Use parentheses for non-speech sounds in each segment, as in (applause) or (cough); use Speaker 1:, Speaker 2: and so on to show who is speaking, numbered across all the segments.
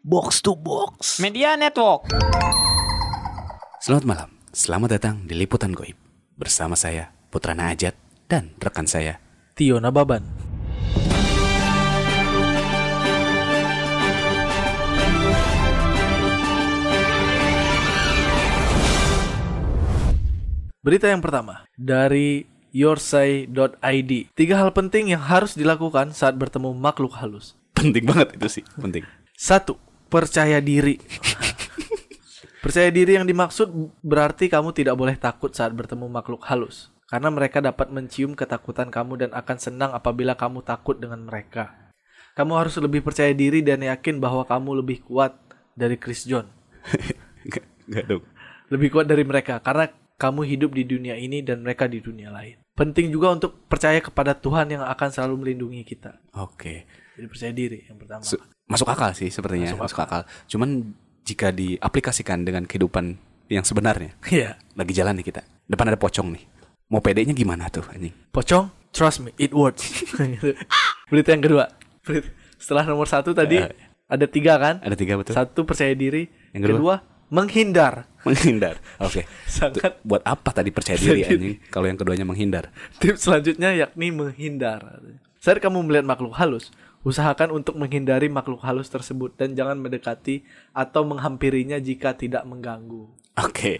Speaker 1: box to box.
Speaker 2: Media Network.
Speaker 3: Selamat malam, selamat datang di Liputan Goib Bersama saya, Putrana Ajat Dan rekan saya,
Speaker 1: Tio Nababan.
Speaker 4: Berita yang pertama dari yoursay.id. Tiga hal penting yang harus dilakukan saat bertemu makhluk halus.
Speaker 3: Penting banget itu sih, penting
Speaker 4: Satu, percaya diri. percaya diri yang dimaksud berarti kamu tidak boleh takut saat bertemu makhluk halus. Karena mereka dapat mencium ketakutan kamu dan akan senang apabila kamu takut dengan mereka. Kamu harus lebih percaya diri dan yakin bahwa kamu lebih kuat dari Chris John.
Speaker 3: (laughs) Nggak- nggak dong
Speaker 4: lebih kuat dari mereka karena kamu hidup di dunia ini dan mereka di dunia lain. Penting juga untuk percaya kepada Tuhan yang akan selalu melindungi kita.
Speaker 3: Oke,
Speaker 4: Jadi percaya diri yang pertama.
Speaker 3: Su- masuk akal sih sepertinya Masuk, akal Cuman jika diaplikasikan dengan kehidupan yang sebenarnya
Speaker 4: Iya.
Speaker 3: Lagi jalan nih kita, depan ada pocong nih Mau pedenya gimana tuh (laughs) anjing?
Speaker 4: Pocong, trust me, it
Speaker 3: (laughs)
Speaker 4: works. Gitu. Berita yang kedua. Berita- Setelah nomor satu tadi
Speaker 3: Eh.
Speaker 4: ada tiga kan?
Speaker 3: Ada tiga betul?
Speaker 4: Satu percaya diri.
Speaker 3: Yang kedua?
Speaker 4: menghindar.
Speaker 3: Menghindar Oke
Speaker 4: Sangat.
Speaker 3: Tuh, Buat apa tadi percaya (laughs) diri anjing Kalau yang keduanya menghindar
Speaker 4: Tips selanjutnya yakni menghindar. Saat kamu melihat makhluk halus, usahakan untuk menghindari makhluk halus tersebut dan jangan mendekati atau menghampirinya jika tidak mengganggu.
Speaker 3: Oke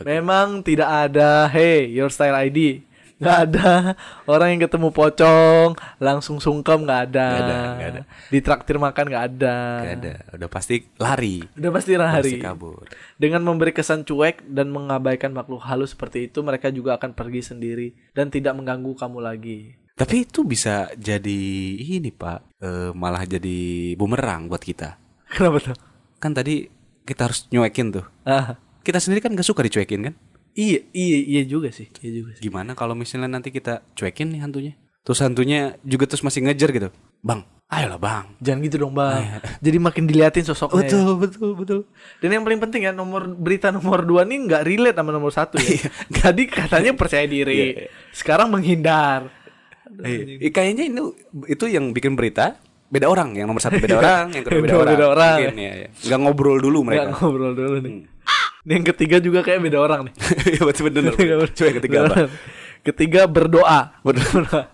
Speaker 4: Memang tidak ada, hey, your style ID. Nggak ada orang yang ketemu pocong langsung sungkem nggak ada.
Speaker 3: Nggak ada, nggak ada.
Speaker 4: Ditraktir makan nggak ada.
Speaker 3: Nggak ada, udah pasti lari
Speaker 4: Udah pasti
Speaker 3: Pasti
Speaker 4: lari.
Speaker 3: kabur
Speaker 4: Dengan memberi kesan cuek dan mengabaikan makhluk halus seperti itu, mereka juga akan pergi sendiri dan tidak mengganggu kamu lagi. (laughs)
Speaker 3: Tapi itu bisa jadi ini pak, Eh, malah jadi bumerang buat kita.
Speaker 4: Kenapa tuh?
Speaker 3: Kan tadi kita harus nyuekin tuh.
Speaker 4: Ah,
Speaker 3: Kita sendiri kan gak suka dicuekin kan?
Speaker 4: iya, iya, iya juga sih, iya juga sih.
Speaker 3: Gimana kalau misalnya nanti kita cuekin nih hantunya? Terus hantunya juga terus masih ngejar gitu. Bang, ayolah bang.
Speaker 4: Jangan gitu dong bang. Jadi makin diliatin sosoknya. ya.
Speaker 3: betul, betul.
Speaker 4: Dan yang paling penting ya nomor berita nomor dua nih nggak relate sama nomor satu (laughs) ya. Tadi katanya percaya diri, sekarang menghindar.
Speaker 3: Eh, kayaknya ini itu yang bikin berita beda orang. Yang nomor satu beda orang, yang
Speaker 4: (laughs)
Speaker 3: kedua beda
Speaker 4: Beda-
Speaker 3: orang.
Speaker 4: Iya. beda orang.
Speaker 3: Mungkin, ya, ya. Nggak ngobrol dulu
Speaker 4: Nggak
Speaker 3: mereka.
Speaker 4: ngobrol dulu nih. Ini Yang ketiga juga kayak beda orang nih.
Speaker 3: (laughs) Iya betul bener. Coba yang ketiga apa?
Speaker 4: (laughs) Ketiga berdoa. Berdoa.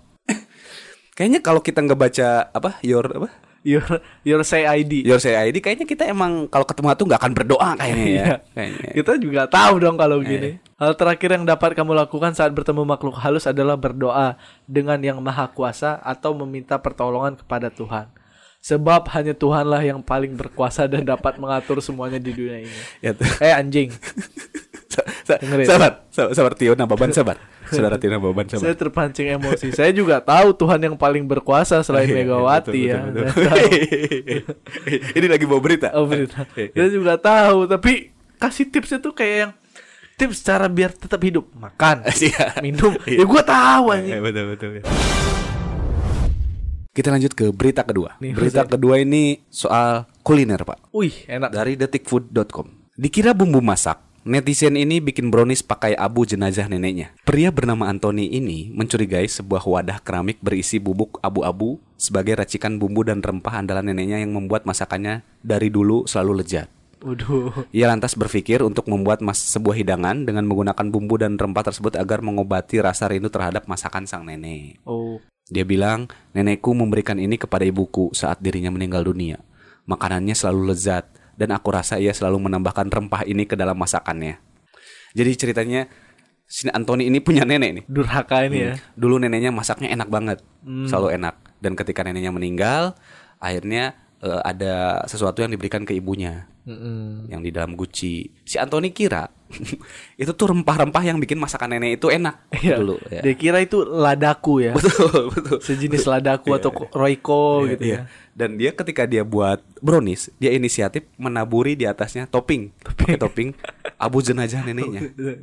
Speaker 3: Kayaknya kalau kita nggak baca apa your apa
Speaker 4: (laughs) Your your say ID.
Speaker 3: Your Say ID kayaknya kita emang kalau ketemu tuh nggak akan berdoa kayaknya ya.
Speaker 4: Iya.
Speaker 3: Kayaknya. Iya.
Speaker 4: Kita juga tahu dong kalau begini. Hal terakhir yang dapat kamu lakukan saat bertemu makhluk halus adalah berdoa dengan yang maha kuasa atau meminta pertolongan kepada Tuhan. Sebab hanya Tuhanlah yang paling berkuasa dan dapat mengatur semuanya di dunia ini.
Speaker 3: Ya tuh.
Speaker 4: Eh anjing,
Speaker 3: Sa- sa-
Speaker 4: Dengerin.
Speaker 3: sabar, sabar, sabar Tio Nababan sabar. Saudara Tio Nababan sabar.
Speaker 4: saya terpancing emosi. Saya juga tahu Tuhan yang paling berkuasa selain Megawati
Speaker 3: Iya, Betul,
Speaker 4: ya.
Speaker 3: betul,
Speaker 4: Saya
Speaker 3: betul.
Speaker 4: tahu.
Speaker 3: (laughs) Ini lagi bawa berita.
Speaker 4: Oh berita.
Speaker 3: Eh, eh.
Speaker 4: Dia juga tahu, tapi kasih tipsnya tuh kayak yang tips cara biar tetap hidup, makan,
Speaker 3: (laughs) Iya.
Speaker 4: minum.
Speaker 3: Iya.
Speaker 4: Ya gua tahu anjing.
Speaker 3: Eh, betul, betul. Kita lanjut ke berita kedua. berita kedua ini soal kuliner, Pak.
Speaker 4: Wih, enak.
Speaker 3: Dari detikfood.com. Dikira bumbu masak, netizen ini bikin brownies pakai abu jenazah neneknya. Pria bernama Anthony ini mencurigai sebuah wadah keramik berisi bubuk abu-abu sebagai racikan bumbu dan rempah andalan neneknya yang membuat masakannya dari dulu selalu lezat.
Speaker 4: Waduh.
Speaker 3: Ia lantas berpikir untuk membuat mas sebuah hidangan dengan menggunakan bumbu dan rempah tersebut agar mengobati rasa rindu terhadap masakan sang nenek.
Speaker 4: Oh,
Speaker 3: Dia bilang, nenekku memberikan ini kepada ibuku saat dirinya meninggal dunia. Makanannya selalu lezat, dan aku rasa ia selalu menambahkan rempah ini ke dalam masakannya. Jadi ceritanya, si Anthony ini punya nenek nih.
Speaker 4: durhaka ini
Speaker 3: Iya.
Speaker 4: ya. Hmm.
Speaker 3: Dulu neneknya masaknya enak banget, selalu enak. Dan ketika neneknya meninggal, akhirnya eh, ada sesuatu yang diberikan ke ibunya. Yang di dalam guci. Si Anthony kira, (laughs) itu tuh rempah-rempah yang bikin masakan nenek itu enak
Speaker 4: Iya.
Speaker 3: dulu. ya. (laughs)
Speaker 4: Dia kira itu ladaku ya.
Speaker 3: Betul, betul.
Speaker 4: Sejenis ladaku atau roiko gitu
Speaker 3: Iya. Dan dia ketika dia buat brownies, dia inisiatif menaburi di atasnya topping, pakai topping abu jenazah neneknya.
Speaker 4: ya.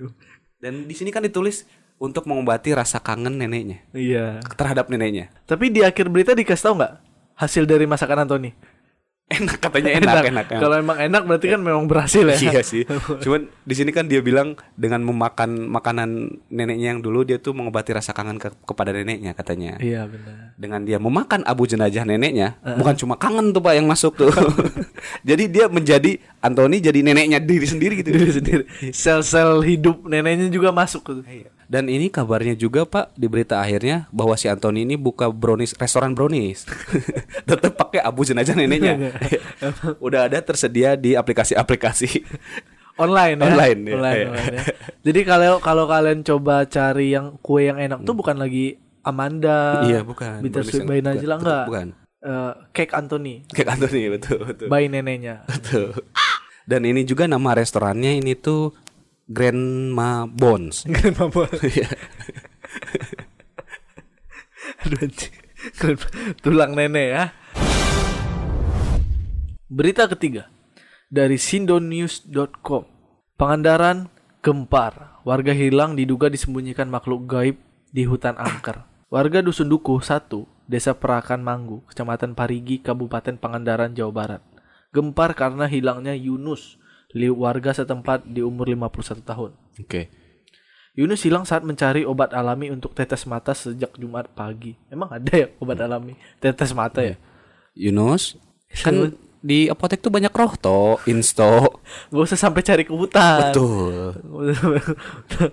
Speaker 3: Dan di sini kan ditulis untuk mengobati rasa kangen neneknya
Speaker 4: Iya.
Speaker 3: terhadap neneknya.
Speaker 4: Tapi di akhir berita dikasih tahu nggak hasil dari masakan Anthony?
Speaker 3: Enak katanya
Speaker 4: (laughs)
Speaker 3: enak, enak. enak.
Speaker 4: Kalau emang enak berarti kan memang berhasil ya.
Speaker 3: (laughs) Iya sih. Cuman di sini kan dia bilang dengan memakan makanan neneknya yang dulu dia tuh mengobati rasa kangen ke- kepada neneknya katanya.
Speaker 4: (laughs) Iya benar.
Speaker 3: Dengan dia memakan abu jenazah neneknya, bukan cuma kangen tuh Pak yang masuk
Speaker 4: (laughs)
Speaker 3: tuh. (laughs) jadi dia menjadi Anthony jadi neneknya diri sendiri gitu.
Speaker 4: Diri sendiri. Sel-sel hidup neneknya juga masuk.
Speaker 3: Dan ini kabarnya juga Pak di berita akhirnya bahwa si Anthony ini buka brownies restoran brownies. (laughs) Tetap pakai abu jenazah neneknya.
Speaker 4: (laughs)
Speaker 3: Udah ada tersedia di aplikasi-aplikasi.
Speaker 4: Online ya.
Speaker 3: Online, iya,
Speaker 4: online,
Speaker 3: iya.
Speaker 4: online ya. Jadi kalau kalau kalian coba cari yang kue yang enak tuh bukan lagi Amanda.
Speaker 3: Hmm. Iya, bukan.
Speaker 4: Bittersweet by
Speaker 3: Brownies yang-
Speaker 4: Najila
Speaker 3: bukan,
Speaker 4: enggak.
Speaker 3: bukan.
Speaker 4: Eh, cake Anthony
Speaker 3: Kayak Anthony betul betul.
Speaker 4: by neneknya.
Speaker 3: Betul. Dan ini juga nama restorannya ini tuh Grandma
Speaker 4: (laughs)
Speaker 3: Bones.
Speaker 4: Grandma Bones.
Speaker 3: Iya.
Speaker 4: (laughs) Aduh, anjing. Keren. tulang nenek ya. Berita ketiga dari sindonews.com. Pangandaran gempar, warga hilang diduga disembunyikan makhluk gaib di hutan angker. Warga Dusun Dukuh 1, Desa Perakan Manggu, Kecamatan Parigi, Kabupaten Pangandaran, Jawa Barat. Gempar karena hilangnya Yunus, li- warga setempat di umur 51 tahun.
Speaker 3: Oke.
Speaker 4: Yunus hilang saat mencari obat alami untuk tetes mata sejak Jumat pagi. Emang ada ya obat
Speaker 3: Hmm.
Speaker 4: alami tetes mata
Speaker 3: Iya.
Speaker 4: ya?
Speaker 3: Yunus
Speaker 4: Iya,
Speaker 3: kan di apotek tuh banyak roh toh, insto.
Speaker 4: (laughs) Gak usah sampai cari ke hutan.
Speaker 3: Betul.
Speaker 4: (laughs)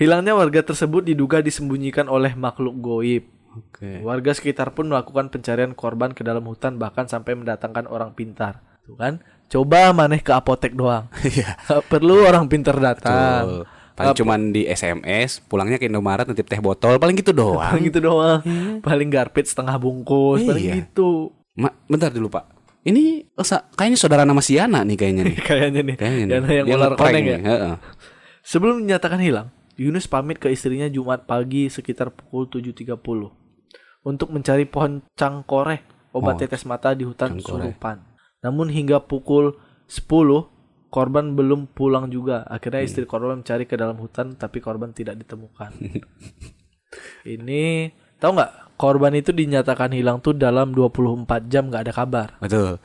Speaker 4: Hilangnya warga tersebut diduga disembunyikan oleh makhluk goib.
Speaker 3: Oke.
Speaker 4: Warga sekitar pun melakukan pencarian korban ke dalam hutan bahkan sampai mendatangkan orang pintar. Tuh kan? Coba maneh ke apotek doang.
Speaker 3: (laughs) Iya.
Speaker 4: Nggak Perlu orang pintar
Speaker 3: Betul.
Speaker 4: datang.
Speaker 3: Paling cuman di SMS, pulangnya ke Indomaret nanti teh botol, paling gitu doang.
Speaker 4: (laughs) Paling gitu doang. Paling garpit setengah bungkus, paling
Speaker 3: Iya.
Speaker 4: gitu.
Speaker 3: Ma, bentar dulu, Pak. Ini sa- kayaknya saudara nama Siana nih kayaknya
Speaker 4: (laughs)
Speaker 3: nih.
Speaker 4: Kayaknya nih.
Speaker 3: Kayaknya nih.
Speaker 4: Yana yang
Speaker 3: Dia
Speaker 4: ular
Speaker 3: nge-prank
Speaker 4: koneng ya.
Speaker 3: nih, heeh.
Speaker 4: Sebelum dinyatakan hilang, Yunus pamit ke istrinya Jumat pagi sekitar pukul 7.30 untuk mencari pohon cangkoreh,
Speaker 3: Oh,
Speaker 4: obat tetes mata di hutan
Speaker 3: cangkoreh.
Speaker 4: Surupan. Namun hingga pukul 10, korban belum pulang juga. Akhirnya istri
Speaker 3: Hmm.
Speaker 4: korban mencari ke dalam hutan tapi korban tidak
Speaker 3: (laughs)
Speaker 4: ditemukan. Ini tahu nggak? Korban itu dinyatakan hilang tuh dalam 24 jam nggak ada kabar. (laughs)
Speaker 3: Betul.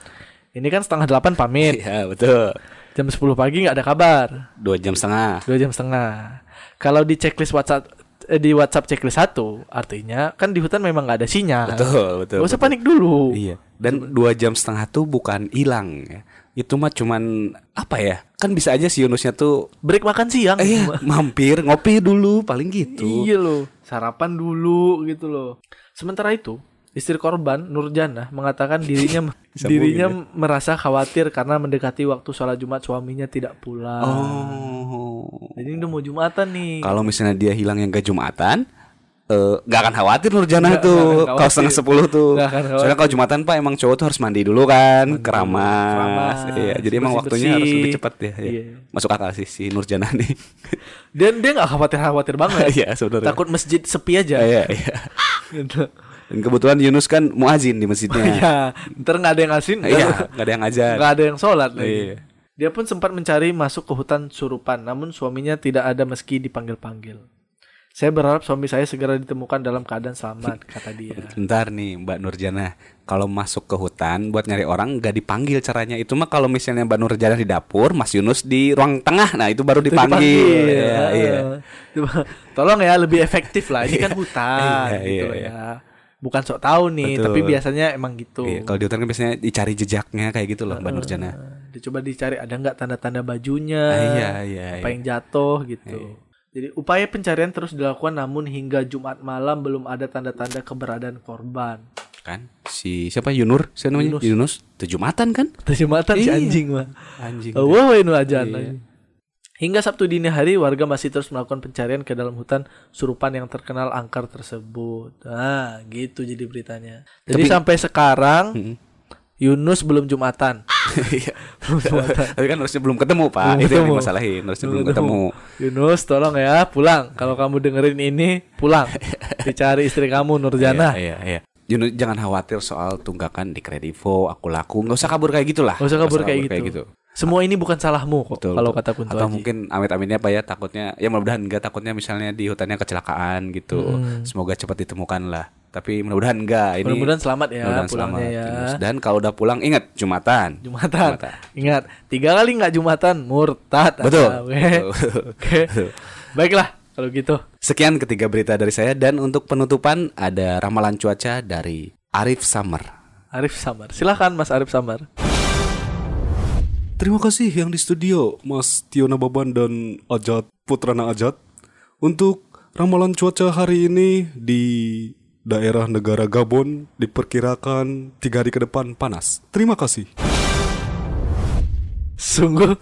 Speaker 4: Ini kan setengah delapan pamit,
Speaker 3: (laughs) Iya, betul.
Speaker 4: jam 10 pagi nggak ada kabar.
Speaker 3: Dua jam
Speaker 4: (laughs)
Speaker 3: setengah.
Speaker 4: dua jam setengah kalau di checklist WhatsApp eh, di WhatsApp checklist satu artinya kan di hutan memang nggak ada sinyal
Speaker 3: Betul, betul.
Speaker 4: Gak usah panik dulu
Speaker 3: Iya. Dan dua jam setengah tuh bukan hilang ya. Itu mah cuman apa ya? Kan bisa aja si Yunusnya tuh
Speaker 4: break makan siang
Speaker 3: eh
Speaker 4: (laughs)
Speaker 3: ya, mampir ngopi dulu paling gitu.
Speaker 4: iya loh sarapan dulu gitu loh sementara itu istri korban Nurjana
Speaker 3: (laughs)
Speaker 4: mengatakan dirinya (laughs) dirinya
Speaker 3: ya.
Speaker 4: merasa khawatir karena mendekati waktu sholat Jumat suaminya tidak pulang
Speaker 3: Oh.
Speaker 4: jadi udah mau Jumatan nih
Speaker 3: Kalau misalnya dia hilang yang ke Jumatan eh gak akan khawatir Nurjana
Speaker 4: Nggak- nggak akan
Speaker 3: tuh
Speaker 4: khawatir.
Speaker 3: kalau setengah sepuluh tuh
Speaker 4: Nggak akan
Speaker 3: soalnya kalau Jumatan pak emang cowok tuh harus mandi dulu kan keramas,
Speaker 4: keramas,
Speaker 3: Iya, jadi emang
Speaker 4: bersih-bersih.
Speaker 3: waktunya harus lebih cepat ya, Iya.
Speaker 4: Iya.
Speaker 3: masuk akal sih si Nurjana nih
Speaker 4: dan dia nggak khawatir khawatir banget
Speaker 3: (laughs) Iya, sebenarnya.
Speaker 4: takut masjid sepi aja
Speaker 3: (laughs) iya iya
Speaker 4: (laughs) gitu
Speaker 3: dan kebetulan Yunus kan muazin di masjidnya
Speaker 4: Ya, ntar nggak ada yang asin, (laughs)
Speaker 3: Iya, nggak ada yang ngajar.
Speaker 4: nggak ada yang sholat lagi.
Speaker 3: Iya.
Speaker 4: Dia pun sempat mencari masuk ke hutan surupan, namun suaminya tidak ada meski dipanggil-panggil. Saya berharap suami saya segera ditemukan dalam keadaan
Speaker 3: (laughs)
Speaker 4: selamat, kata dia.
Speaker 3: Bentar nih Mbak Nurjana, kalau masuk ke hutan buat nyari orang nggak dipanggil caranya itu mah kalau misalnya Mbak Nurjana di dapur, Mas Yunus di ruang tengah, nah itu baru
Speaker 4: Itu
Speaker 3: dipanggil. Iya,
Speaker 4: Ah,
Speaker 3: iya.
Speaker 4: Coba, Tolong ya lebih efektif lah. Ini kan hutan,
Speaker 3: Iya,
Speaker 4: gitu
Speaker 3: iya,
Speaker 4: loh
Speaker 3: iya.
Speaker 4: ya. Bukan sok tahu nih,
Speaker 3: Betul.
Speaker 4: tapi biasanya emang gitu.
Speaker 3: Iya, kalau di hutan kan biasanya dicari jejaknya kayak gitu
Speaker 4: Ah,
Speaker 3: loh Mbak Nurjana.
Speaker 4: Dicoba dicari ada nggak tanda-tanda bajunya,
Speaker 3: Ah, iya, iya, iya.
Speaker 4: apa yang jatuh gitu. Jadi upaya pencarian terus dilakukan, namun hingga Jumat malam belum ada tanda-tanda keberadaan korban.
Speaker 3: Kan si siapa Yunur? Siapa namanya? Yunus. Itu Jumatan kan?
Speaker 4: Terus Jumatan si
Speaker 3: Iya.
Speaker 4: anjing mah.
Speaker 3: Anjing.
Speaker 4: Oh, wah, wah, ini aja anjing. Hingga Sabtu dini hari warga masih terus melakukan pencarian ke dalam hutan surupan yang terkenal angker tersebut. Nah, gitu jadi beritanya. Jadi sampai sekarang Yunus belum Jumatan.
Speaker 3: (laughs) Iya.
Speaker 4: belum Jumatan.
Speaker 3: Tapi kan harusnya belum ketemu, Pak.
Speaker 4: Belum
Speaker 3: itu yang
Speaker 4: ketemu.
Speaker 3: dimasalahin, harusnya belum ketemu.
Speaker 4: Yunus tolong ya pulang. Kalau kamu dengerin ini
Speaker 3: (laughs)
Speaker 4: pulang. Dicari istri kamu Nurjana.
Speaker 3: Iya, iya. Yunus jangan khawatir soal tunggakan di kredivo, aku laku, nggak usah kabur kayak gitulah.
Speaker 4: Gak usah kabur kayak gitu. Semua ini bukan salahmu kok.
Speaker 3: Betul,
Speaker 4: Kalau
Speaker 3: betul.
Speaker 4: kata Kunto
Speaker 3: Atau
Speaker 4: Aji.
Speaker 3: mungkin amit-amitnya Pak ya takutnya ya mudah-mudahan enggak takutnya misalnya di hutannya kecelakaan gitu. Semoga cepat ditemukan lah. Tapi mudah-mudahan enggak ini.
Speaker 4: Hmm. Mudah-mudahan selamat ya
Speaker 3: mudah-mudahan
Speaker 4: pulangnya
Speaker 3: selamat,
Speaker 4: ya.
Speaker 3: Yunus. Dan kalau udah pulang ingat Jumatan.
Speaker 4: Jumatan.
Speaker 3: Jumatan.
Speaker 4: Ingat, tiga kali nggak Jumatan, murtad.
Speaker 3: Betul.
Speaker 4: Anda, weh. Oke. Baiklah, kalau gitu.
Speaker 3: Sekian ketiga berita dari saya dan untuk penutupan ada ramalan cuaca dari Arif Samar.
Speaker 4: Arif Samar. Silahkan Mas Arif Samar.
Speaker 3: Terima kasih yang di studio Mas Tiona Baban dan Ajat Putrana Ajat untuk ramalan cuaca hari ini di daerah negara Gabon diperkirakan tiga hari ke depan panas. Terima kasih.
Speaker 4: Sungguh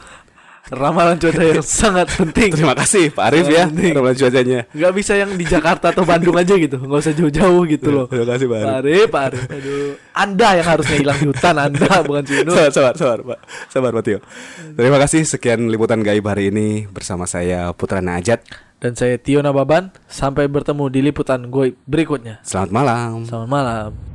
Speaker 4: ramalan cuaca
Speaker 3: (laughs)
Speaker 4: yang sangat penting.
Speaker 3: Terima kasih Pak Arif ya ramalan cuacanya.
Speaker 4: Nggak bisa yang di Jakarta atau Bandung aja gitu. Nggak usah jauh-jauh gitu loh.
Speaker 3: Terima kasih Pak
Speaker 4: Pak
Speaker 3: Arif.
Speaker 4: Arif, Pak Arif. Aduh. Anda yang harusnya hilang di hutan, Anda bukan
Speaker 3: (laughs)
Speaker 4: Cino.
Speaker 3: Sabar, sabar, sabar, Pak. Sabar, Pak Tio. Terima kasih sekian liputan gaib hari ini bersama saya Putrana Ajat.
Speaker 4: Dan saya Tio Nababan. Sampai bertemu di liputan goib berikutnya.
Speaker 3: Selamat malam.
Speaker 4: Selamat malam.